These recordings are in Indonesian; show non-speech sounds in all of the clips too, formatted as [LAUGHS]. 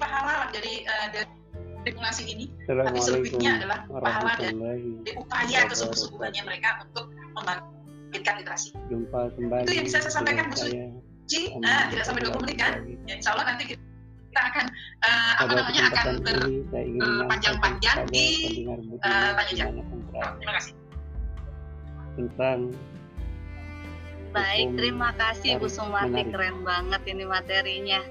dari uh, dari regulasi ini tapi Assalamualaikum selebihnya adalah pahala dan warahmatullahi dari upaya kesungguh-sungguhannya mereka untuk membangkitkan literasi. Jumpa kembali Itu yang bisa saya sampaikan, Bu dengan Sri. saya, Ji, Om nah, tidak sampai 20 menit kan? Abdul Wahid. Ya, insya Allah nanti kita kita akan eh, apa Pada namanya akan kesempatan ber ini, saya ingin menyampaikan panjang-panjang kepada di, pendengar Bu Sri eh, Panjang. gimana pembelaan terima kasih. tentang Baik, hukum terima kasih Bu Menarik, Sumarti, menarik. keren banget ini materinya.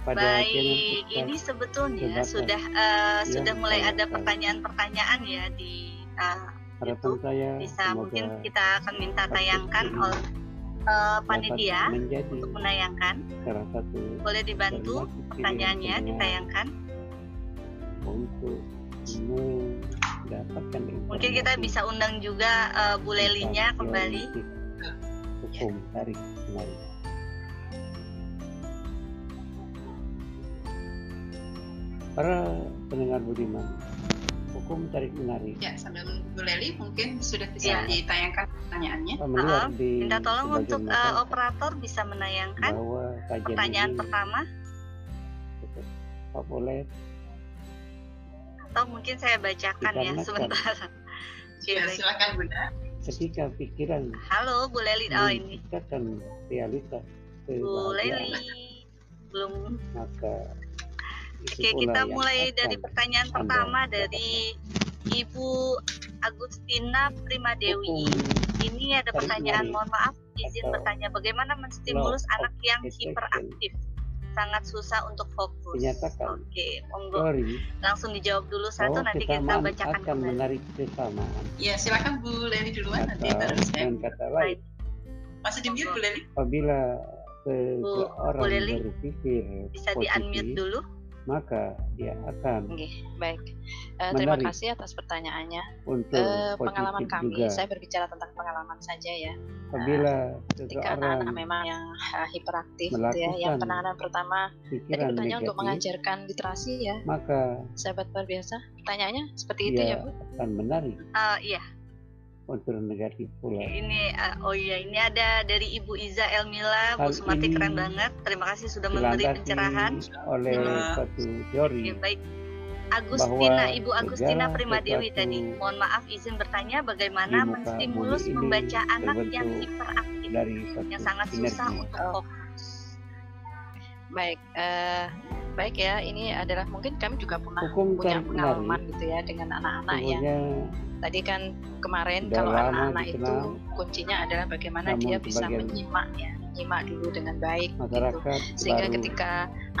pada Baik, akhirnya ini sebetulnya debatkan. sudah eh, Ya, sudah mulai baik, ada baik. pertanyaan-pertanyaan ya di eh, harapan saya Oh, bisa semoga mungkin kita akan minta topik tayangkan ini oleh eh, dapat panitia menjadi untuk menayangkan. salah satu Boleh dibantu alternatif pilihan pertanyaannya pendengar ditayangkan. untuk mendapatkan Mungkin kita informasi bisa undang juga eh, Bu Lelinya tentang kembali. Iya. teori hukum tarik Iya, menarik para pendengar budiman hukum tarik menarik Ya, sambil menunggu Leli mungkin sudah Ya. bisa ditayangkan pertanyaannya. meluar di Minta tolong sebagian Nah, untuk eh, masyarakat operator bisa menayangkan bahwa kajian pertanyaan ini gitu, pertama cukup populer atau mungkin saya bacakan ya Dikarenakan. sebentar. Ya, Baik. silakan Bunda. ketika pikiran Halo Bu Leli, oh ini Iya, menciptakan realita Bu Leli kebahagiaan belum. maka Oke kita mulai dari Anda pertanyaan pertama dapatkan. dari Ibu Agustina Primadewi. Dewi Ini ada Tarik menarik. pertanyaan, mohon maaf izin Atau bertanya bagaimana law menstimulus of anak yang attraction. hiperaktif? Sangat susah untuk fokus. Dinyatakan. Oke, monggo teori langsung dijawab dulu satu bahwa nanti kita kita, bacakan manfaatkan kembali. Oh, menarik kesamaan Ya, silakan Bu Leli duluan nanti ya. kata baru saya. dan kata lain Masih di mute Bu Leli? apabila Bu- Bu seseorang Leli, berpikir Bisa di unmute positif dulu. maka dia akan Oke, baik. Eh, Ya, terima Menarik. kasih atas pertanyaannya. untuk Eh, pengalaman positif kami, juga saya berbicara tentang pengalaman saja ya. apabila Ketika anak-anak seseorang memang yang eh, hiperaktif, gitu ya, yang melakukan penanganan pertama. Tadi pikiran bertanya untuk negatif mengajarkan literasi ya, maka sahabat luar biasa. Pertanyaannya seperti itu dia ya, Bu. akan menarik Eh, iya, unsur negatif pula Ini uh, oh iya ini ada dari Ibu Iza Elmila, Bu Hal Sumarti ini keren banget. Terima kasih sudah memberi dilandasi pencerahan. oleh Hmm. Nah. satu teori Iya. Oke, baik. Agustina, bahwa Ibu Agustina segala Primadewi sesuatu tadi. Mohon maaf izin bertanya di bagaimana muka menstimulus bumi ini membaca anak yang terbentuk hiperaktif dari satu yang sangat susah sinergi. untuk Oh. fokus. Baik, eh, baik ya. Ini adalah mungkin kami juga pernah Hukum punya tarik menarik pengalaman gitu ya dengan anak-anak yang sebenarnya tadi kan kemarin Sudah kalau lama anak-anak itu dikenal. kuncinya adalah bagaimana Namun dia bisa sebagian- menyimak ya, menyimak dulu dengan baik gitu. masyarakat sehingga baru ketika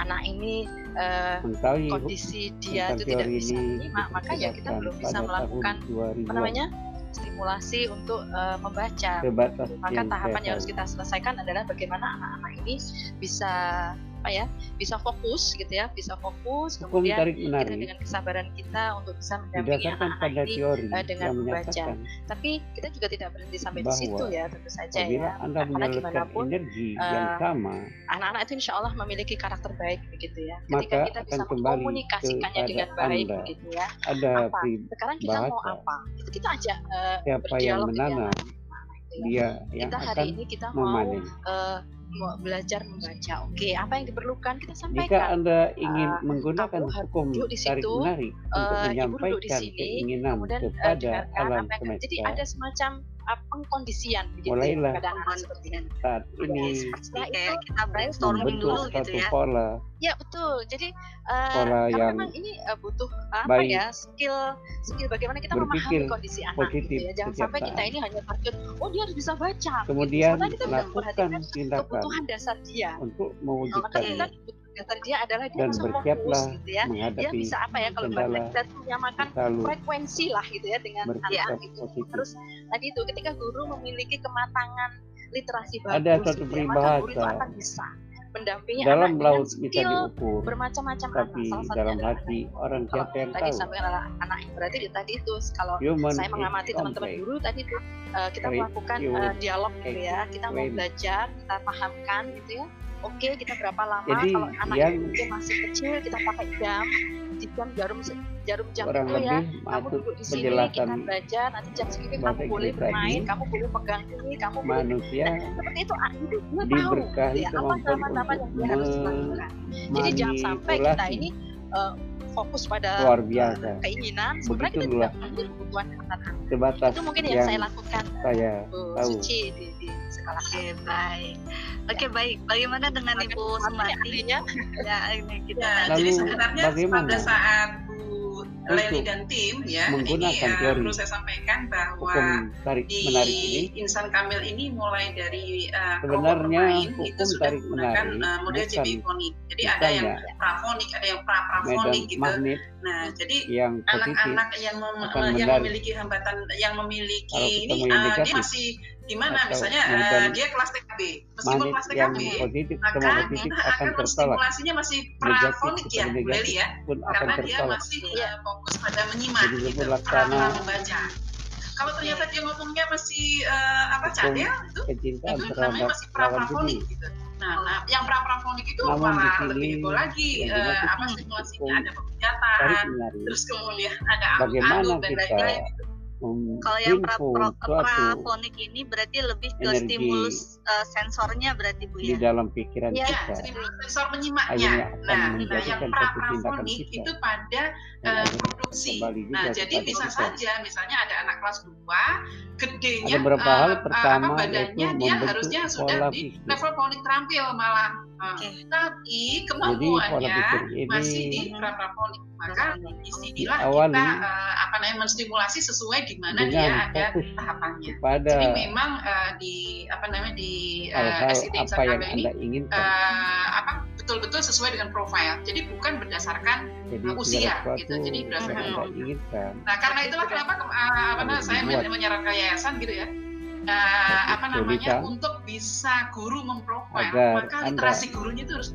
anak ini eh, mengetahui kondisi dia tentang Iya, itu tidak teori bisa ini menyimak maka ya kita diterapkan belum bisa pada tahun melakukan 2000-an. apa namanya stimulasi untuk eh, membaca sebatas maka yang tahapan saya yang harus tahu. kita selesaikan adalah bagaimana anak-anak ini bisa apa ya bisa fokus gitu ya bisa fokus hukum kemudian tarik kita menarik dengan kesabaran kita untuk bisa mendampingi didasarkan anak-anak pada ini teori eh, dengan yang membaca. menyatakan tapi kita juga tidak berhenti sampai di Bahwa situ ya tentu saja apabila ya anda karena menyalurkan gimana pun, energi yang eh, sama anak-anak itu insya Allah memiliki karakter baik begitu ya Maka ketika kita bisa akan kembali mengkomunikasikannya kepada dengan baik Anda. begitu ya ada apa? pri- sekarang kita mau Bahasa. apa itu kita ajak eh, siapa yang berdialog dengan menanam anak gitu ya. dia yang kita hari akan ini kita mau memanen eh, mau belajar membaca oke apa yang diperlukan kita jika sampaikan anda ingin Ah, menggunakan kamu harus hukum duduk di tarik situ, menarik untuk eh, ibu duduk di menyampaikan sini, keinginan kemudian eh, kepada dengarkan alam apa yang jadi semesta ada semacam eh, pengkondisian begitu ya, Mulailah. kepada anak seperti ini saat Oke, ini seperti Jadi itu kayak kita brainstorming membentuk dulu satu gitu ya. pola Ya betul. Jadi eh, Pola karena yang memang ini eh, butuh apa baik. ya skill skill bagaimana kita Berpikir memahami kondisi anak positif gitu ya. Jangan setiap sampai kita saat. ini hanya terjun, oh dia harus bisa baca. gitu. kemudian Sementara kita tidak lakukan memperhatikan tindakan kebutuhan dasar dia. untuk Nah, maka kita mewujudkannya kebutuhan dasar dia adalah dia Dan harus fokus bersiaplah gitu ya. Dia menghadapi bisa apa ya kalau kendala. belajar menyamakan selalu frekuensi lah gitu ya dengan bersikap anak gitu. positif Terus tadi itu ketika guru memiliki kematangan literasi bagus, Ada satu gitu ya, maka guru itu peribahasa. akan bisa mendampingi anak dalam dengan laut bisa skill diukur bermacam-macam tapi anak. Salah satunya dalam adalah hati orang Kalau siapa yang anak. tadi tahu sampai adalah anak berarti di tadi itu kalau human saya is mengamati teman-teman complex. guru tadi itu eh, kita Create melakukan your eh, dialog gitu ya kita mau experience. belajar kita pahamkan gitu ya oke kita berapa lama Jadi, kalau anak yang- itu masih kecil kita pakai jam di jam jarum se- jarum jam kurang itu ya lebih kamu masuk duduk di sini penjelasan kita baca nanti jam segini bahasa kamu boleh Inggris bermain tadi. kamu boleh pegang ini kamu boleh Eh, manusia seperti itu ah, itu dia tahu gitu diberkahi ya apa kemampuan tahapan-tahapan yang dia harus untuk lakukan jadi jangan sampai kita ini eh, fokus pada Luar biasa. eh, keinginan sebenarnya kita Begitu tidak mengambil kebutuhan anak-anak Sebatas itu mungkin yang, yang saya lakukan saya Bu tahu. Suci di, di sekolah Oke baik, oke baik. Bagaimana dengan Ya. Ibu Sumati? Artinya, Ya ini Ya, kita. Lalu jadi sebenarnya bagaimana pada saat Bu Leli dan tim ya ini menggunakan eh, teori perlu saya sampaikan bahwa hukum tarik menarik ini di insan kamil ini mulai dari eh, kelompok Sebenarnya bermain itu hukum sudah tarik menggunakan menarik eh, model bukan- JBPonik. Jadi ada bukan yang ya prafonik, ada yang pra medan prafonik gitu. magnet Nah, jadi yang positif anak-anak yang mem- eh, akan yang menarik. memiliki hambatan yang Kalau memiliki ketemu ini yang ah, negatif dia masih di mana atau misalnya ah, medan- dia kelas TKB meskipun magnet kelas yang TKB positif maka sama ya. positif kita akan akan tertolak menstimulasinya masih Negatif prafonik ya kepada Bu negatif. Leli ya pun akan karena dia tertolak masih eh, fokus pada menyimak Jadi gitu sebelak pra- pra sana- membaca kalau ternyata dia ngomongnya masih eh, apa cadel itu kecintaan itu namanya terhadap masih lawan praprafonik jenis gitu. Nah, nah, yang praprafonik itu Namun di malah sini lebih heboh lagi yang eh, dimaksud apa hukum- stimulasinya hukum ada tarik pemijatan, menarik kan? terus ya, anu, kemudian ada bagaimana adu-adu dan kita lain-lain. Kalau yang pra- menghimpun pra- suatu prafonik ini berarti lebih ke energi. stimulus eh, sensornya berarti Bu di ya. dalam pikiran Ya, kita stimulus sensor menyimaknya. akhirnya akan Nah, nah menjadikan yang satu tindakan praprafonik kita itu pada dan eh, akhirnya produksi. Iya, kembali juga Nah, jadi kepada bisa kita. saja misalnya ada anak kelas 2 gedenya Ada eh, beberapa hal. eh, apa, Pertama, badannya yaitu dia membentuk harusnya sudah pola di pikir. level ponik terampil malah. Eh, Oke. Tapi jadi pola kemampuannya pikir ya, masih ini di praprafonik. Maka di sinilah Diawali kita eh, apa namanya menstimulasi sesuai di mana dia dengan ada fokus tahapannya. pada Jadi memang eh, di apa namanya di eh, hal-hal SID apa yang Instagram ini anda inginkan eh, apa betul-betul sesuai dengan profil. Jadi bukan berdasarkan jadi usia, segala gitu. sesuatu Jadi yang berdasarkan anda umur. inginkan nah karena itulah kenapa ke- eh, apa namanya saya men- Dibuat. menyarankan yayasan gitu ya. Eh, apa Jadi, namanya Kak, untuk bisa guru memprofil agar maka Anda literasi gurunya itu harus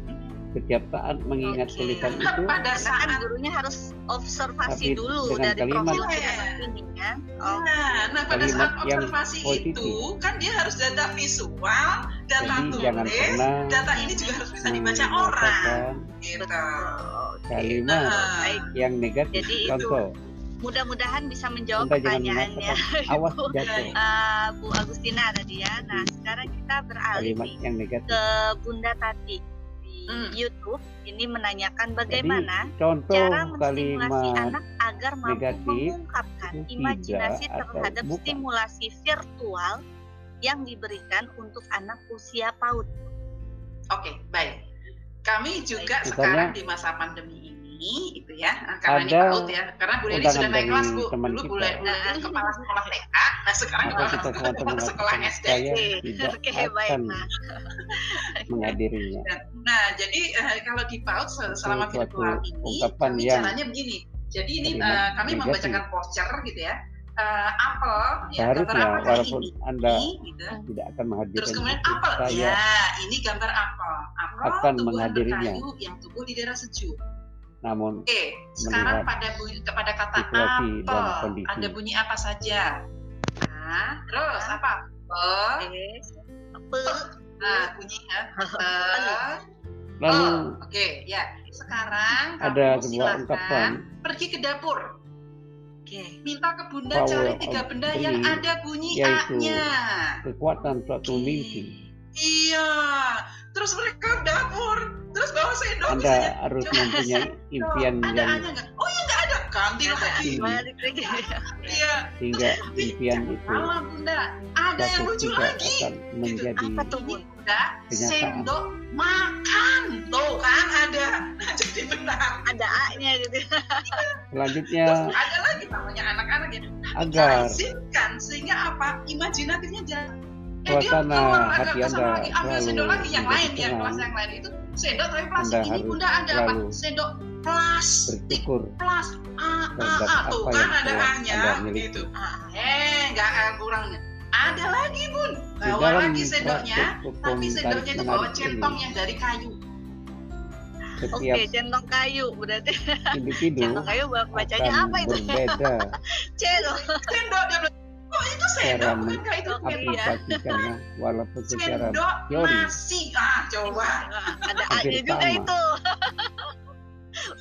setiap saat mengingat Oke. [LAUGHS] tulisan itu pada Karena kan saat gurunya harus observasi Tapi dulu dengan dari kalimat- profil si anak ini kan. Oh, Nah, nah pada Kalimat saat yang observasi positif. itu kan dia harus data visual, data jadi jangan tulis, pernah ya. data ini juga harus bisa dibaca orang. mengatakan Nah, Gitu. eh. Nah, betul. kalimat Baik. yang negatif Jadi itu contoh Mudah-mudahan bisa menjawab Anda jangan pertanyaannya [LAUGHS] awas Bu, jatuh eh, Bu Agustina tadi ya. Nah sekarang kita beralih kalimat nih yang negatif ke Bunda Tati di Hmm. YouTube. Ini menanyakan bagaimana contoh cara menstimulasi kalimat anak agar mampu negatif mengungkapkan itu tidak imajinasi atau terhadap bukan. stimulasi virtual yang diberikan untuk anak usia PAUD. Oke, baik. Kami juga Misalnya, sekarang di masa pandemi ini, itu ya, karena ini ada PAUD ya, karena Bu Leli undangan sudah naik dari kelas Bu, Nah, teman dulu Bu kita. Leli Bu Leli kepala sekolah TK, nah sekarang maka [LAUGHS] kepala kita semua kepala terdengar sekolah sama SD. saya Oke, [LAUGHS] tidak oke, baik, akan Mas. menghadirinya Nah, jadi eh, kalau di PAUD se- selama Itu suatu virtual ini, ungkapan kami yang caranya begini. Jadi ini kalimat eh, kami negatif. membacakan voucher gitu ya, eh, apel, ya, seharusnya apakah walaupun ini, anda gitu. tidak akan Terus menghadirkan kemudian itu, apel, saya ya ini gambar apel. Apel akan tumbuhan menghadirinya. berkayu yang tumbuh di daerah sejuk. namun Oke, sekarang Melihat pada bunyi kepada kata situasi dan apel, kondisi. ada bunyi apa saja? Nah, Eh, terus apa? Pel, Oke. Pe- nah [LAUGHS] bunyinya pel. lalu pel. Oke, ya. Sekarang kamu ada sebuah silakan ungkapan pergi ke dapur, Oke. minta ke bunda Power cari of tiga benda yang three, ada bunyi yaitu a-nya. kekuatan suatu mimpi Iya. Terus mereka ke dapur, terus bawa sendok misalnya. anda harus mempunyai impian ada yang A-nya nggak? Oh iya nggak ada, ganti lagi. Tinggi. Balik lagi. Iya. hingga impian itu Salah bunda, ada yang satu lucu tidak lagi. akan menjadi Apa tuh, Bu? Ini bunda Kenyataan. sendok makan, tuh kan ada. Nah, [LAUGHS] jadi benar. Ada A-nya gitu. selanjutnya Terus ada lagi namanya anak-anak ya. agar Kasihkan sehingga apa? Imajinatifnya jalan. Ya, Suasana agak hati ke sana Anda Iya, lagi, ambil selalu sendok lagi yang menjadi lain, yang tenang. kelas yang lain itu sendok tapi plastik iya. Anda ini harus bunda ada apa? selalu Sendok plastik bersyukur plus a a terhadap a tuh kan apa yang ada telah hanya Anda miliki. gitu eh nggak eh, kurangnya ada lagi bun di bawa dalam lagi sendoknya praktik hukum Nah, tapi sendoknya tarik itu bawa menarik centong ini, yang dari kayu setiap Oke, [LAUGHS] centong kayu. Berarti individu centong kayu bak- bacanya akan apa itu? [LAUGHS] berbeda Iya. Centong. sendok dia bilang, kok itu sendok Cara bukan kayak itu men- sendok?" Ya, Iya. aplikasikannya walaupun secara sendok teori. nasi ah coba Ada Hampir [LAUGHS] A-nya juga sama. itu.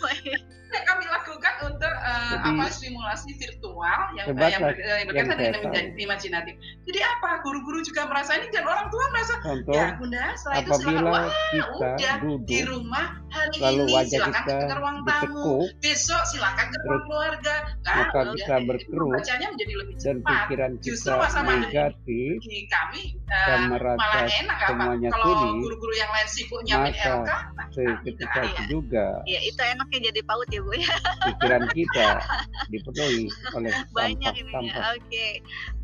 Baik. Nah, kami lakukan untuk eh, eh, Jadi- apa stimulasi virtual yang Hebat eh, yang, lah, ber- eh, yang berkaitan yang dengan saya imajin- imajinatif. Jadi apa guru-guru juga merasa ini dan orang tua merasa Contoh, ya bunda setelah itu silakan apabila wah kita udah, di duduk rumah hari lalu ini wajah silakan kita ke ruang tamu ditekuk, besok silakan ke ruang Terus keluarga nah muka udah, kita berkerut bacanya menjadi lebih dan cepat pikiran Justru kita masa pandemi negatif di kami eh, dan merasa malah enak apa semuanya kalau kuning, guru-guru yang lain sibuk nyiapin maka LK nah, kita ketika enggak, itu ya. juga Ya itu enaknya jadi paut ya Bu ya. pikiran kita [LAUGHS] dipenuhi oleh Banyak ini tampak-tampak eh, ya. Oke.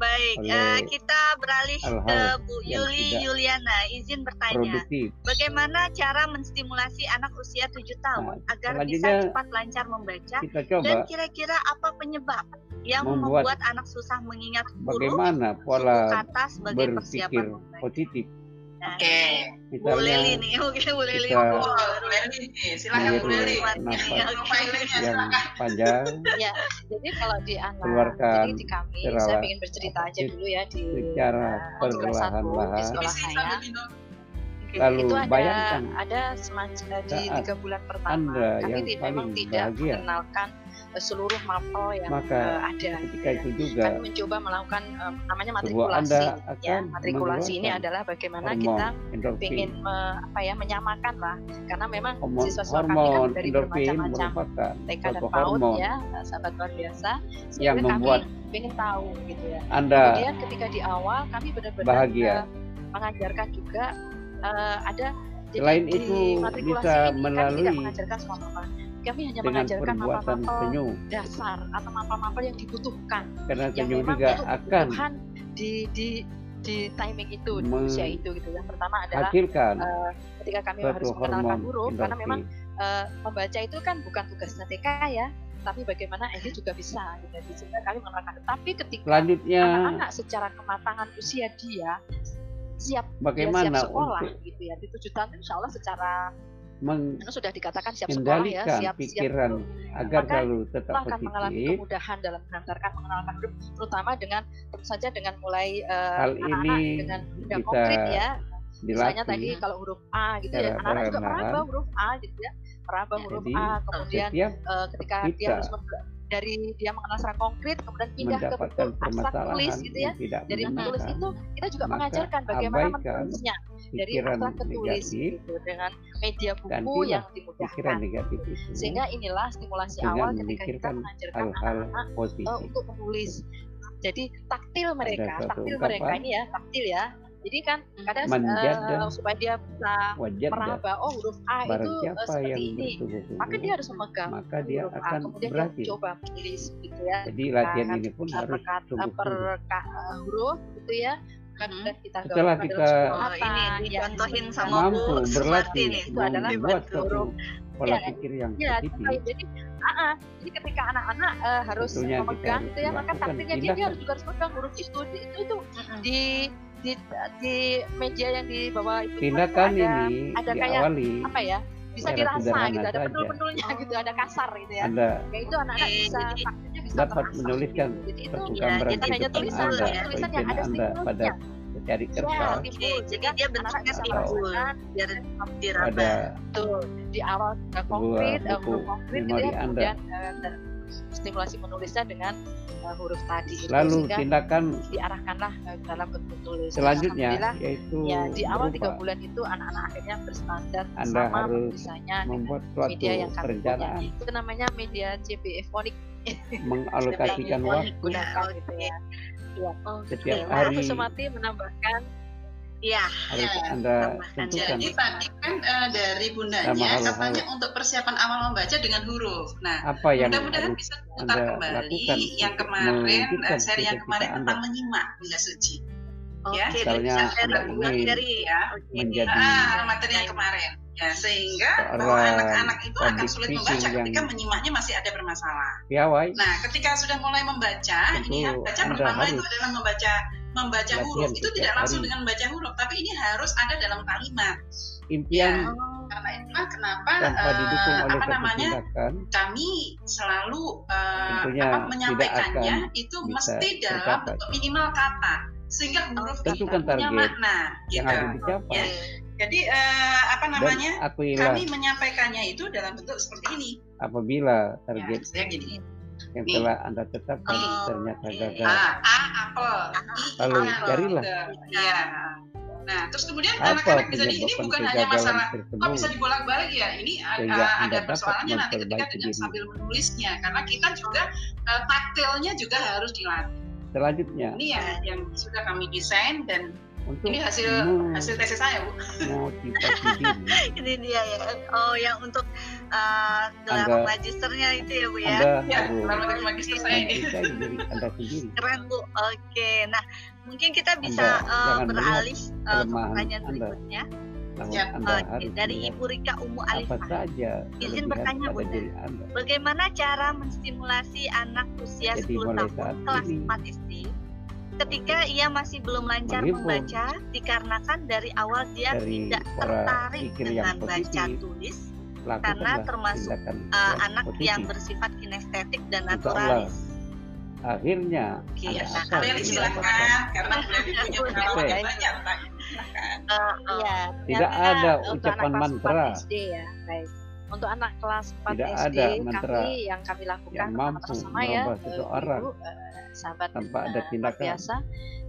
Baik, Oleh eh, kita beralih ke hal-hal Bu yang Yuli tidak Yuliana. Izin bertanya. produktif. Ya, Bagaimana cara menstimulasi anak usia 7 tahun agar Nah, bisa selanjutnya cepat lancar membaca Kita coba dan kira-kira apa penyebab yang membuat, Membuat- anak susah mengingat huruf, bagaimana suku pola kata sebagai persiapan berpikir membaca? positif. Nah, Oke, Bu Misalnya Leli nih, oke Bu Leli. kita Bu oh, Bu Leli. Leli nih, Iya, silakan Bu Leli. meniru nafas Iya, Profilingnya yang silakan. [LAUGHS] panjang ya jadi kalau di anak Keluarkan jadi di kami secara saya ingin bercerita aja positif dulu ya di secara eh, untuk kelas satu di perlahan-lahan. sekolah Misi saya sambil minum. lalu itu ada bayangkan ada semacam eh, di saat tiga bulan pertama Anda kami yang ti- paling memang tidak bahagia. mengenalkan eh, seluruh mapel yang Maka eh, ada gitu ketika ya. itu kami juga mencoba melakukan eh, namanya Sebuah matrikulasi Anda ya akan matrikulasi ini mengeluarkan adalah bagaimana hormon kita endorfin. ingin me- apa ya menyamakan lah karena memang Hormon, siswa-siswa kami kan hormon dari endorfin bermacam-macam merupakan TK dan suatu PAUD hormon ya sahabat luar biasa Sehingga yang membuat kami ingin tahu gitu ya Anda kemudian ketika di awal kami benar-benar Bahagia. eh, mengajarkan juga eh, ada jadi Selain di itu, matrikulasi bisa ini kami melalui tidak mengajarkan semua mapel kami hanya dengan mengajarkan perbuatan mapel-mapel senyum dasar atau mapel-mapel yang dibutuhkan karena yang senyum memang juga untuk akan kebutuhan di di di timing itu di Me- usia itu gitu yang pertama adalah hasilkan eh, ketika kami harus suatu mengenalkan hormon huruf karena memang endorfin. eh, membaca itu kan bukan tugasnya TK ya tapi bagaimana SD juga bisa gitu Di sini kami mengenalkan tapi ketika Selanjutnya anak-anak secara kematangan usia dia siap dia siap bagaimana sekolah untuk gitu ya di tujuh tahun insya Allah secara meng- karena sudah dikatakan siap sekolah ya kendalikan siap siap pikiran gitu. agar Maka selalu tetap Semua akan mengalami positif. kemudahan dalam menghantarkan mengenalkan grup terutama dengan tentu saja dengan mulai eh, Hal anak-anak ini dengan udah bisa konkret ya misalnya tadi Dilatih kalau huruf A gitu ya secara anak-anak juga perlahan-lahan. meraba huruf A gitu ya meraba huruf Jadi, A kemudian setiap eh, ketika dia kita harus mem- dari dia mengenal secara konkret kemudian pindah ke mendapatkan bentuk abstrak tulis permasalahan gitu ya yang tidak dari abstrak tulis menyenangkan, itu kita juga maka mengajarkan bagaimana abaikan menulisnya dari pikiran abstrak ke tulis negatif, gitu, dengan media buku Gantilah yang pikiran dimudahkan negatif itu sehingga inilah stimulasi dengan awal ketika kita memikirkan mengajarkan hal-hal anak-anak eh, positif. untuk menulis. Nah, Jadi taktil mereka, suatu ungkapan. taktil Hmm. mereka ini ya, taktil ya. Jadi kan kadang eh, Menjadah. supaya dia bisa Wajar tidak? meraba oh huruf A itu Barang eh, siapa seperti yang ini. Maka dia bersungguh-sungguh, harus memegang maka dia huruf A, akan kemudian berhasil. dia coba menulis gitu ya. Jadi latihan Nah, ini pun Eh, harus perkat- eh, per sungguh-sungguh. ka- eh, huruf gitu ya. Kemudian kita Setelah gabungkan kita Oh, dalam sebuah ini kata, ya. Hmm. dicontohin sama Mampu Bu Sumarti berlatih nih. itu adalah membuat membentuk suatu pola Ya, pikir yang Ya, positif. jadi, ah, ah. jadi ketika anak-anak eh, harus Tentunya kita memegang harus gitu ya, maka melakukan taktiknya dia, dia tindakan. harus juga harus memegang huruf itu, di- itu itu Mm-mm. di di di meja yang di bawah itu kan Tindakan ada ini ada kayak diawali apa ya? Bisa Secara dirasa sederhana gitu, ada saja. penul-penulnya Oh. gitu, ada kasar gitu ya. Anda Ya itu anak-anak Oke, bisa Iya, jadi taktiknya bisa Iya. dapat terasa, menuliskan gitu. Jadi itu satu ya, gambaran jadi kehidupan tulisan Anda, ya, tulisan yang pemikiran ada Anda stimulus pada ya. secari kertas, Ya, Oke, jadi dia bentuknya Anak-anak simpul bisa biar pada diraba. Betul. Di awal eh, konkret, eh, buku huruf konkret gitu memori ya, Anda. kemudian eh, ter- stimulasi menulisnya dengan eh, huruf tadi. gitu. lalu Sehingga tindakan diarahkanlah eh, dalam bentuk tulis. selanjutnya Alhamdulillah, yaitu ya di awal tiga berupa bulan itu anak-anak akhirnya berstandar Anda sama harus misalnya membuat media suatu yang kami perencanaan punya. Itu namanya media CBE fonik mengalokasikan Lebih waktu Nah, gunakan oke. gitu ya. Iya. setiap Nah, Nah, aku hari semati menambahkan Ya, harus Ya, Anda Iya, tambahkan. tentukan Jadi tadi kan eh, dari bundanya Sama hal-hal. katanya untuk persiapan awal membaca dengan huruf. Nah, apa yang mudah-mudahan harus bisa diputar Anda kembali lakukan yang untuk kemarin mewujudkan eh, seri yang cita-cita kemarin Anda. Iya, tentang menyimak Bunda Suci. oke. Ya, misalnya bisa share Anda buat ingin dari ya. Oke. menjadi Ah, materi yang kemarin. Ya, sehingga bahwa Seorang anak-anak itu akan public sulit speaking membaca ketika yang- menyimaknya masih ada bermasalah. piawai Nah, ketika sudah mulai membaca, ini ya, Tentu baca Anda pertama itu harus adalah membaca membaca latihan huruf. Itu setiap tidak langsung hari. dengan membaca huruf, tapi ini harus ada dalam kalimat. impian Ya. Oh, Karena itulah kenapa tanpa eh, didukung oleh apa satu namanya tindakan kami selalu eh, Tentunya apa, tidak menyampaikannya akan itu bisa mesti dalam tercapai. bentuk minimal kata sehingga huruf itu Tentukan punya target makna yang gitu. harus dicapai Ya. Jadi eh, apa dan namanya? akuilah Kami menyampaikannya itu dalam bentuk seperti ini. Ya, apabila Oh, target saya gini. yang Nih. telah Anda tetapkan Nih. ternyata Nih. gagal. A, A apel, I Lalu apel. Ya. carilah. Iya. Nah, terus kemudian Apa anak-anak bisa di sini penyebab bukan hanya kegagalan masalah kok bisa tersebut? dibolak-balik ya ini a- a- Sehingga Anda ada dapat persoalannya nanti ketika memperbaiki dengan diri. sambil menulisnya karena kita juga eh, taktilnya juga harus dilatih Selanjutnya, ini ya yang sudah kami desain dan untuk ini hasil mem- hasil tesis saya Hmm. bu [LAUGHS] memotivasi diri, Ini dia ya. Oh, yang untuk eh gelar Anda- magisternya itu ya, Bu ya. Anda ya harus selamat dari magister saya ini mencintai diri Anda sendiri. [LAUGHS] Oh, Keren, Bu. Oke. Nah, mungkin kita bisa Anda eh, jangan beralih eh, ke kelemahan pertanyaan Anda. berikutnya. Namun Ya, Anda Oke, harus dari melihat Ibu Rika Umu apa Alifah. saja Izin kelebihan bertanya, pada Bunda. diri Anda. Bagaimana cara menstimulasi anak usia Jadi 10 mulai tahun saat kelas ini. 4 SD ketika ia masih belum lancar Menipu. membaca dikarenakan dari awal dia Dari tidak pola tertarik pikir yang dengan baca positif. tulis Lakukanlah termasuk, tindakan eh, yang anak positif. yang bersifat kinestetik Insya dan Allah. naturalis. akhirnya Oke, Anda nah, akan kalian mendapatkan. silahkan karena kalian punya pengalaman Oke. banyak Pak. Silahkan. Eh, eh, Iya. Tidak ternyata ada untuk ucapan anak kelas mantra 4 SD ya. Baik. Untuk anak kelas 4 Tidak SD ada mantra kami yang kami lakukan yang bersama- mampu bersama ya merubah eh, seseorang Ibu, eh, sahabat tanpa eh, ada luar tindakan. biasa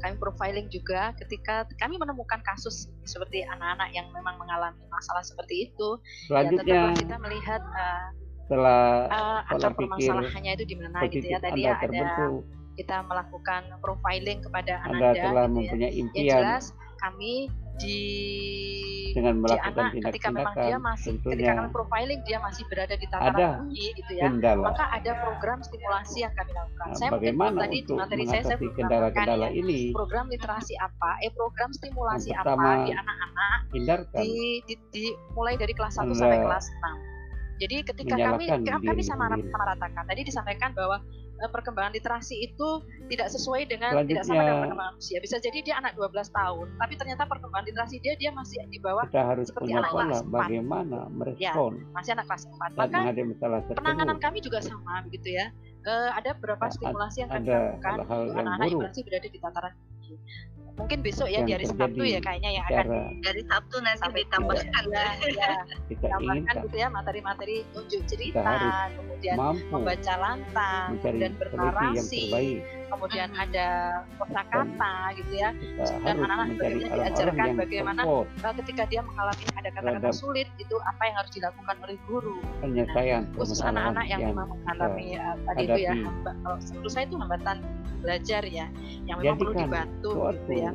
kami profiling juga ketika kami menemukan kasus seperti anak-anak yang memang mengalami masalah seperti itu ya Selanjutnya tentu kita melihat eh, setelah eh, pola akar pikir permasalahannya itu di mana gitu positif ya Anda tadi ya ada terbentuk, kita melakukan profiling kepada Anda anak telah gitu ya. mempunyai Yang impian jelas kami di dengan di melakukan anak ketika memang dia tindak-tindakan masih ketika tentunya kami profiling dia masih berada di ada tataran tinggi gitu ya kendala. maka ada program stimulasi yang kami lakukan. Nah, saya mungkin bagaimana tadi di untuk materi saya saya mengatasi belum mengatakan kendala-kendala ya, ini? program literasi apa, eh program stimulasi Yang apa pertama, kan. di anak-anak Hindarkan di, di- di- mulai dari kelas 1 Anda sampai kelas 6. Jadi ketika kami menyalahkan kami kami Iya. diri sama sendiri. ratakan tadi disampaikan bahwa eh, perkembangan literasi itu tidak sesuai dengan tidak sama Selanjutnya- dengan perkembangan usia. Bisa jadi dia anak 12 tahun, tapi ternyata perkembangan literasi dia dia masih di bawah kita harus seperti punya anak pola kelas empat. bagaimana merespon masih anak kelas saat 4. Ya. Maka menghadapi masalah penanganan tersebut. kami juga sama begitu ya. Eh, ada beberapa Saat stimulasi yang kami ada lakukan hal-hal untuk yang anak-anak yang buruk masih berada di tataran tinggi. Mungkin besok yang ya di hari Sabtu terjadi ya kayaknya yang akan Cara dari Sabtu nanti Sampai ditambahkan. ya, ya, [LAUGHS] kita ditambahkan inginkan gitu ya materi-materi tunjuk cerita, harus kemudian mampu membaca ya. lantang, mencari kemudian solusi yang bernarasi, terbaik. kemudian Mhm. ada kosakata gitu ya. Kita Dan harus anak-anak mencari sebenarnya orang-orang diajarkan yang bagaimana support Nah, ketika dia mengalami ada kata-kata Terhadap- sulit itu apa yang harus dilakukan oleh guru penyelesaian Nah, khusus permasalahan anak-anak yang yang memang mengalami eh, tadi itu ya Ya. hadapi. hamba, kalau menurut saya itu hambatan belajar ya yang memang perlu Jadikan dibantu gitu suatu ya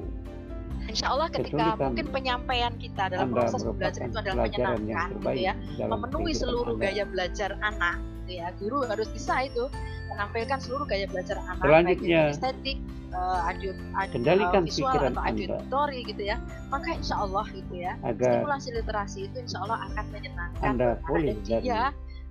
Insya Allah ketika kesulitan mungkin penyampaian kita dalam Anda proses merupakan belajar itu adalah pelajaran yang menyenangkan gitu terbaik ya dalam memenuhi kehidupan seluruh Anda. gaya belajar anak gitu ya guru harus bisa itu menampilkan seluruh gaya belajar anak Selanjutnya, baik itu estetik eh, audio, audio- kendalikan visual pikiran atau Anda. auditory gitu ya maka insya Allah gitu ya agar stimulasi literasi itu insya Allah akan menyenangkan Anda buat anak pulih dan dari dia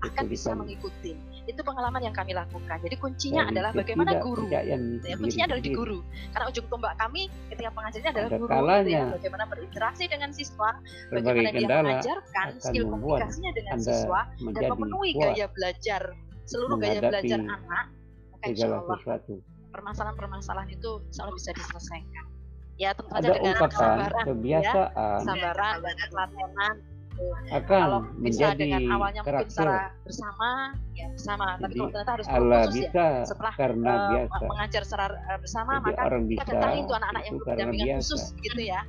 akan bisa kesulitan mengikuti itu pengalaman yang kami lakukan jadi kuncinya adalah dari bagaimana guru ketidakpercayaan gitu ya. diri kuncinya adalah di sendiri. guru karena ujung tombak kami ketika pengajarnya adalah Ada guru gitu ya. kalanya bagaimana berinteraksi dengan siswa Berbagai bagaimana dia kendala mengajarkan akan skill membuat komunikasinya dengan Anda siswa dan menjadi memenuhi kuat gaya belajar seluruh gaya menghadapi belajar anak maka insya segala Allah sesuatu. permasalahan-permasalahan itu insya Allah bisa diselesaikan ya tentu saja Ada dengan ungkapan kesabaran ya kebiasaan kesabaran dan kelatenan akan kalau bisa menjadi dengan awalnya mungkin karakter. secara bersama ya bersama tapi Jadi, kalau ternyata harus Allah khusus ya bisa setelah karena eh, biasa. mengajar secara eh, bersama Jadi maka orang kita bisa datangi itu anak-anak yang itu perlu karena pendampingan biasa. khusus gitu ya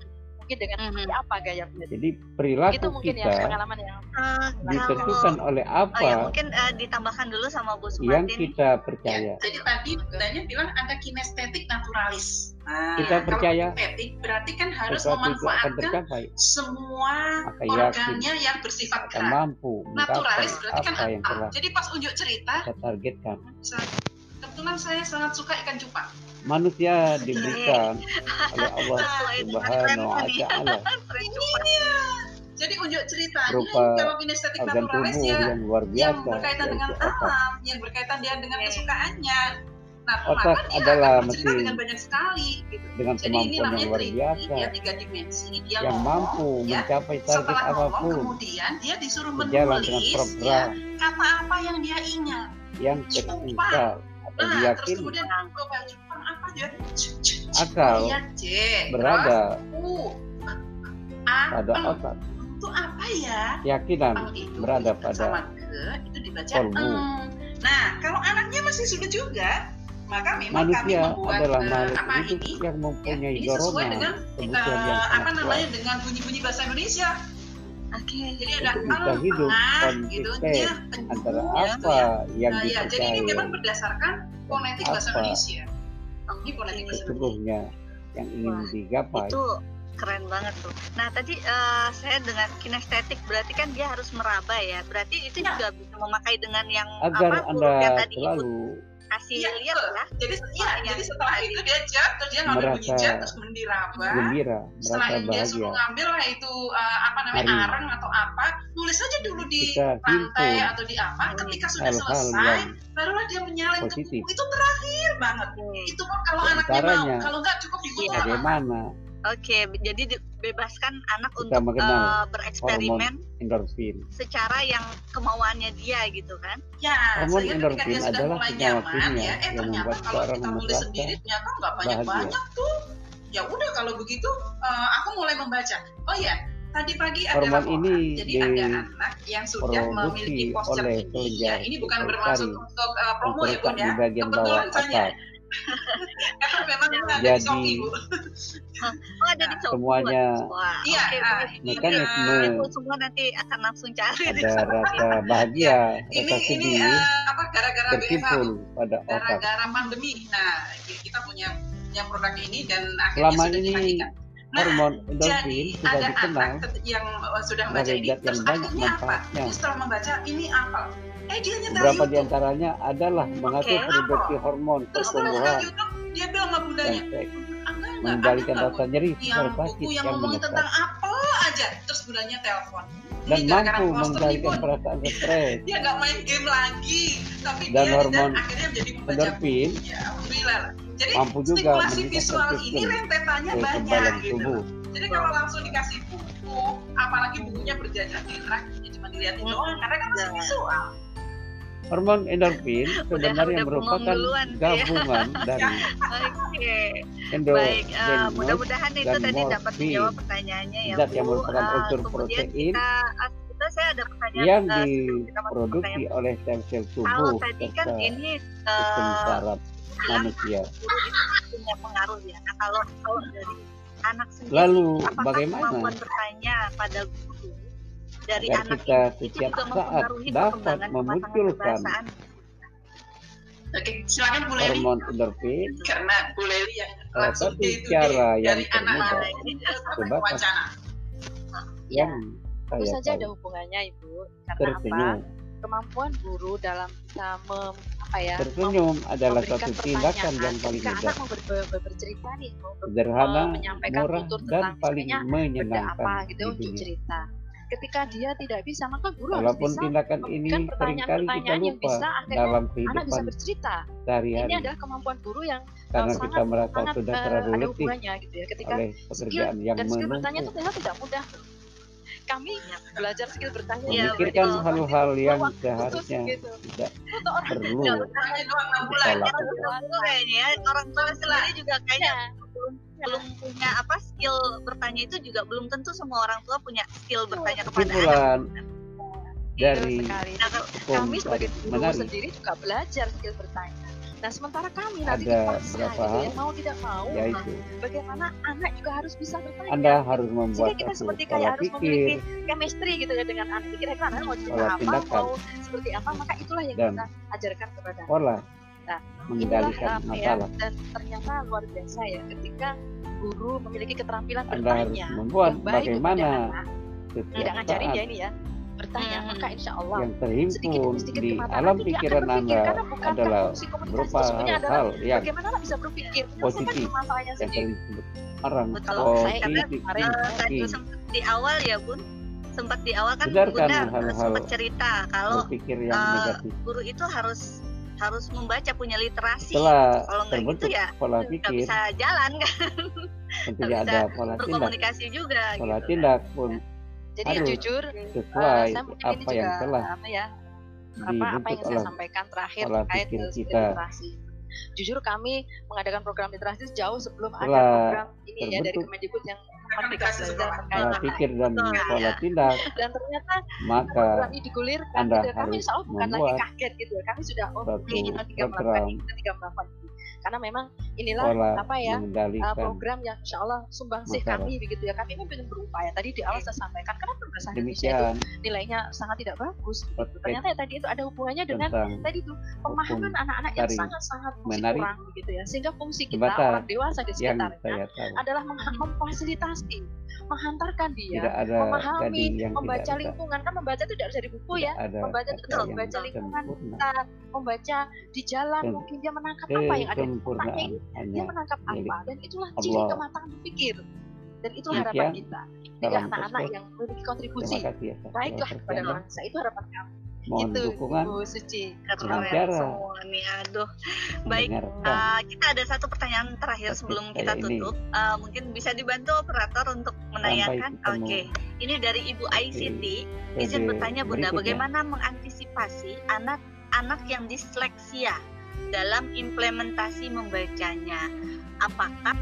mungkin dengan Mhm. seperti apa gaya belajar Jadi itu perilaku mungkin ya kita pengalaman yang Eh, ditentukan oleh oh ya, apa mungkin eh, ditambahkan dulu sama Bu yang Sumatin. kita Ya, percaya. jadi tadi Danya bilang ada kinestetik naturalis. Nah, Kita kalau percaya kinestetik berarti kan harus sesuatu itu akan memanfaatkan tercapai. semua Maka yakin organnya yang bersifat akan gerak. mampu menggapai Naturalis berarti kan apa yang apa? telah Jadi pas unjuk cerita, kita targetkan. saya- kebetulan saya sangat suka ikan cupang. Manusia diberikan oleh [LAUGHS] Allah Sesuai dengan Subhanahu wa tren ini. [LAUGHS] taala Iya. Jadi unjuk ceritanya Berupa kalau kinestetik organ naturalis tubuh ya yang luar yang biasa berkaitan dengan yaitu otak. alam, yang berkaitan dia dengan Oke. kesukaannya. Nah, Otak maka dia adalah akan bercerita mesin dengan banyak sekali gitu. dengan Jadi ini kemampuan yang namanya luar trinity, biasa dia tiga dimensi, dia yang ngomong, mampu ya. mencapai target Setelah ngomong, apapun kemudian dia disuruh berjalan dengan menulis ya, program kata apa yang dia ingat. yang Cuma. terpisah atau Nah, terus diyakini kemudian global Jepang apa dia? C, c, c. Akal Iya, C. berada Terus, U. A. pada Eng. otak Itu apa ya? keyakinan Ang itu berada diikut pada sama ke itu dibaca kolbu. eng. Nah, kalau anaknya masih sulit juga, maka memang kami manusia membuat adalah eh, makhluk apa hidup ini Ya, yang mempunyai ini sesuai dorongan dengan eh, kebutuhan yang apa sangat kuat. namanya dengan bunyi-bunyi bahasa Indonesia. Oke. Jadi ada Untuk bisa al, hidup ah, konsisten gitu, nyah, penyu, Antara ya, itu apa ya. yang Nah, ya, jadi ini memang dipercaya berdasarkan fonetik bahasa Apa? Indonesia. Ini fonetik bahasa Indonesia. seluruhnya yang ingin Wah, digapai. Itu keren banget tuh. Nah tadi eh, saya dengan kinestetik berarti kan dia harus meraba ya. Berarti itu Ya. juga bisa memakai dengan yang Agar apa huruf yang Anda tadi ikut selalu kasih Iya, lihat betul. ya. Jadi, ya, Makanya. jadi setelah itu dia jatuh, dia ngambil bunyi Merasa jat, terus mendiraba. gembira, Setelah merasa itu dia bahagia. suruh ngambil lah itu eh, apa namanya Hari. arang atau apa, tulis aja dulu di Kita rantai himpun atau di apa. Ketika sudah hal-hal selesai, yang barulah dia menyalin ke positif. buku. Itu terakhir banget. Oke. Itu pun kalau Di anaknya mau, antaranya. kalau nggak cukup dibuat Iya. sama bagaimana Oke. Jadi dibebaskan anak kita untuk mengenal eh, bereksperimen endorfin. Oh, secara yang kemauannya dia gitu kan. Ya, sehingga Hormon ketika endorfin dia sudah adalah mulai senyawa nyaman kimia ya, eh yang ternyata membuat kalau seorang kita nulis merasa sendiri ternyata nggak banyak-banyak tuh. Ya udah kalau begitu eh, aku mulai membaca. Oh ya, tadi pagi ada Hormon laporan. ini Jadi ada di- anak yang sudah produksi memiliki posture tinggi. oleh Ya, kelenjar ini bukan pituitari bermaksud untuk eh, promo ya, Terletak Bun di ya. bagian bawah Kebetulan saya atas. karena memang ada di Jadi- Shopee, Bu. Oh ada di Shopee. Semuanya- Wah, Iya, oke, ah, boleh. ini, Mekanisme. eh, Aku semua nanti akan langsung cari Ada di [LAUGHS] rasa bahagia, ini rasa ini sedih eh, apa gara-gara BFH, Bu. terkumpul pada otak. gara-gara pandemi. Nah, kita punya yang produk ini dan akhirnya Selama sudah ini dihadirkan. Nah, Hormon jadi endorfin sudah ada dikenal anak tet- yang uh, sudah membaca sebagai ini. zat yang Terus banyak akhirnya apa? manfaatnya. Terus setelah membaca ini apa? Eh dia nyetel Beberapa YouTube. di antaranya adalah mengatur apa? produksi hormon Terus setelah nyetel pertumbuhan YouTube dia bilang sama bundanya, dan seks, "Ah, enggak, enggak, Ya. mengendalikan ada rasa nyeri, nggak, Bu, yang rasa sakit buku yang yang ngomongin menekan tentang apa aja terus bundanya telepon Ini dan gara-gara poster mampu nih, mengendalikan Bun. perasaan stres. dia nggak main game lagi tapi Dan dia dan hormon akhirnya jadi membaca Endorfin ya alhamdulillah lah. jadi mampu juga stimulasi meningkatkan visual ini sistem rentetannya banyak kekebalan gitu tubuh. Jadi kalau langsung dikasih buku, apalagi bukunya berjajar-jajar, ya cuma dilihatin doang, karena kan masih Iya. visual. Hormon endorfin sebenarnya udah merupakan pengungguluan dia. gabungan dari [LAUGHS] Oke, endorfin baik. Eh, mudah-mudahan itu dan tadi dapat morfin. menjawab pertanyaannya ya, zat Bu. yang merupakan Eh, unsur kemudian protein kita, ah, kita saya ada pertanyaan yang eh, sebelum kita masuk ke diproduksi pertanyaan. Iya, oleh sel-sel Kalau tubuh tadi kan serta ini sistem eh, saraf bilang manusia. guru itu punya pengaruh ya. Nah, kalau kalau dari anak sendiri, Lalu apakah bagaimana kemampuan bertanya pada guru dari agar anak kita ini itu setiap juga saat mempengaruhi dapat perkembangan memunculkan kematangan Oke, silakan Bu Leli. hormon endorfin Karena Bu Leli yang Salah langsung satu day to Nah, cara day yang dari anak-anak termudah ini eh, sampai ke terbatas. wacana. Ya, yang itu saya ya, saja ada tahu hubungannya Ibu. Karena ya, tersenyum. apa? Kemampuan guru dalam bisa mem, apa ya? Tersenyum adalah memberikan satu pertanyaan Nah, tindakan yang paling ketika mudah, anak mau ber- ber- ber- bercerita nih, mau ber- sederhana, eh, menyampaikan murah, tutur dan tentang paling misalnya benda apa menyenangkan di gitu untuk dunia. cerita. Ketika dia tidak bisa, maka guru harus Walaupun bisa. tindakan ini memberikan seringkali kita Kan pertanyaan-pertanyaan yang lupa bisa akhirnya dalam Anak bisa kehidupan bercerita. Ini sehari-hari adalah kemampuan guru yang karena sangat- kita merasa sangat sudah eh, terlalu ada letih hubungannya gitu ya. Ketika oleh pekerjaan yang Iya, dan skill bertanya itu menumpuk, ternyata tidak mudah. Kami belajar skill bertanya Iya, memikirkan betul. hal-hal yang Waktu khusus seharusnya gitu. tidak Untuk orang perlu Iya, Hanya doang enam bulan. kita Iya, lakukan. Keren ya, orang tua sendiri juga kayaknya Iya. Iya, belum punya apa skill bertanya itu juga belum tentu semua orang tua punya skill bertanya kepada anak. Kesimpulan dari Betul sekali. Nah, kalau- hukum Iya, Kami sebagai tadi guru menarik sendiri juga belajar skill bertanya. Nah, sementara kami nanti Ada dipaksa beberapa gitu ya, hal, mau tidak mau, yaitu kan. bagaimana anak juga harus bisa bertanya. Anda harus membuat Iya, kita satu seperti kayak pola harus pikir chemistry gitu ya dengan anak kira-kira anak mau cerita Pola apa tindakan. mau seperti apa maka itulah yang Dan kita ajarkan kepada anak. pola Nah, mengendalikan Itulah, apa ya, masalah. dan ternyata luar biasa ya ketika guru memiliki keterampilan Anda harus bertanya membuat yang baik bagaimana Ya, kepada anak. tidak setiap ngajarin ya saat ini ya bertanya Hmm. maka insya Allah yang sedikit terhimpun demi sedikit Ya, di kematangan alam nanti dia akan pikiran berpikir, Anda karena bukankah adalah fungsi komunikasi berupa itu sebenarnya adalah hal yang bagaimana anak bisa berpikir positif, menyelesaikan masalahnya yang sendiri sering disebut orang Kalau saya karena positif kemarin, Eh, tadi thinking, sempat di awal ya Bun, sempat di awal kan Benarkan Bunda hal-hal sempat cerita kalau berpikir yang eh, negatif guru itu harus harus membaca punya literasi. setelah Kalau nggak terbentuk gitu ya pola nggak pikir bisa jalan kan, tentunya nggak ada pola tindak berkomunikasi juga. pola gitu. tindak pun jadi ya, harus jujur sesuai eh, kan. Nah, saya mungkin ini apa yang juga, telah apa ya apa, apa dibentuk yang saya oleh sampaikan terakhir pola terkait pikir dengan kita. literasi. jujur kami mengadakan program literasi jauh sebelum ada Lah, program ini ya dari terbentuk. Kemendikbud yang Akan merdeka dikasih belajar sekolah. merdeka Pola tanpa pikir dan ya. Betul. pola [LAUGHS] tindak, dan ternyata maka program ini digulirkan Anda gitu. kami harus insya Allah bukan lagi membuat kaget gitu ya kami sudah oh suatu ini kita tiga melakukan program. ini kita tiga melakukan ini karena memang inilah pola apa ya uh, mengendalikan. program yang insya Allah sumbangsih Masyarakat. kami begitu ya kami memang benar berupaya tadi di awal saya sampaikan kenapa bahasa Indonesia itu Demikian nilainya sangat tidak bagus gitu. Oke. ternyata ya tadi itu ada hubungannya dengan tentang tadi itu pemahaman anak-anak yang tari sangat-sangat masih menari. kurang gitu ya sehingga fungsi kita Sebentar. orang dewasa di yang sekitarnya saya tahu. adalah mengha- memfasilitasi menghantarkan dia Tidak ada ya, memahami tadi yang tidak membaca ada. lingkungan kan membaca itu tidak harus dari buku ya Tidak ada membaca kata betul, yang membaca lingkungan. sempurna. kita membaca di jalan Kem- mungkin dia menangkap apa yang ada di otaknya Kesempurnaan ini Eh, hanya dia menangkap milik apa dan itulah ciri Allah. kematangan berpikir dan itu harapan Demikian kita tiga dalam anak-anak proses. yang memiliki kontribusi Terima kasih atas baiklah Gitu. kepada perhatiannya. bangsa itu harapan kami Mohon itu dukungan Bu Suci Keren Bicara. ya, semua nih, aduh. Baik, mendengarkan. Uh, kita ada satu pertanyaan terakhir Oke, sebelum saya kita ini. tutup. Uh, mungkin bisa dibantu operator untuk menayangkan. ketemu. Oke, ini dari Ibu Oke. ICT. Jadi, Izin bertanya berikutnya. Bunda, bagaimana mengantisipasi anak-anak yang disleksia dalam implementasi membacanya? Apakah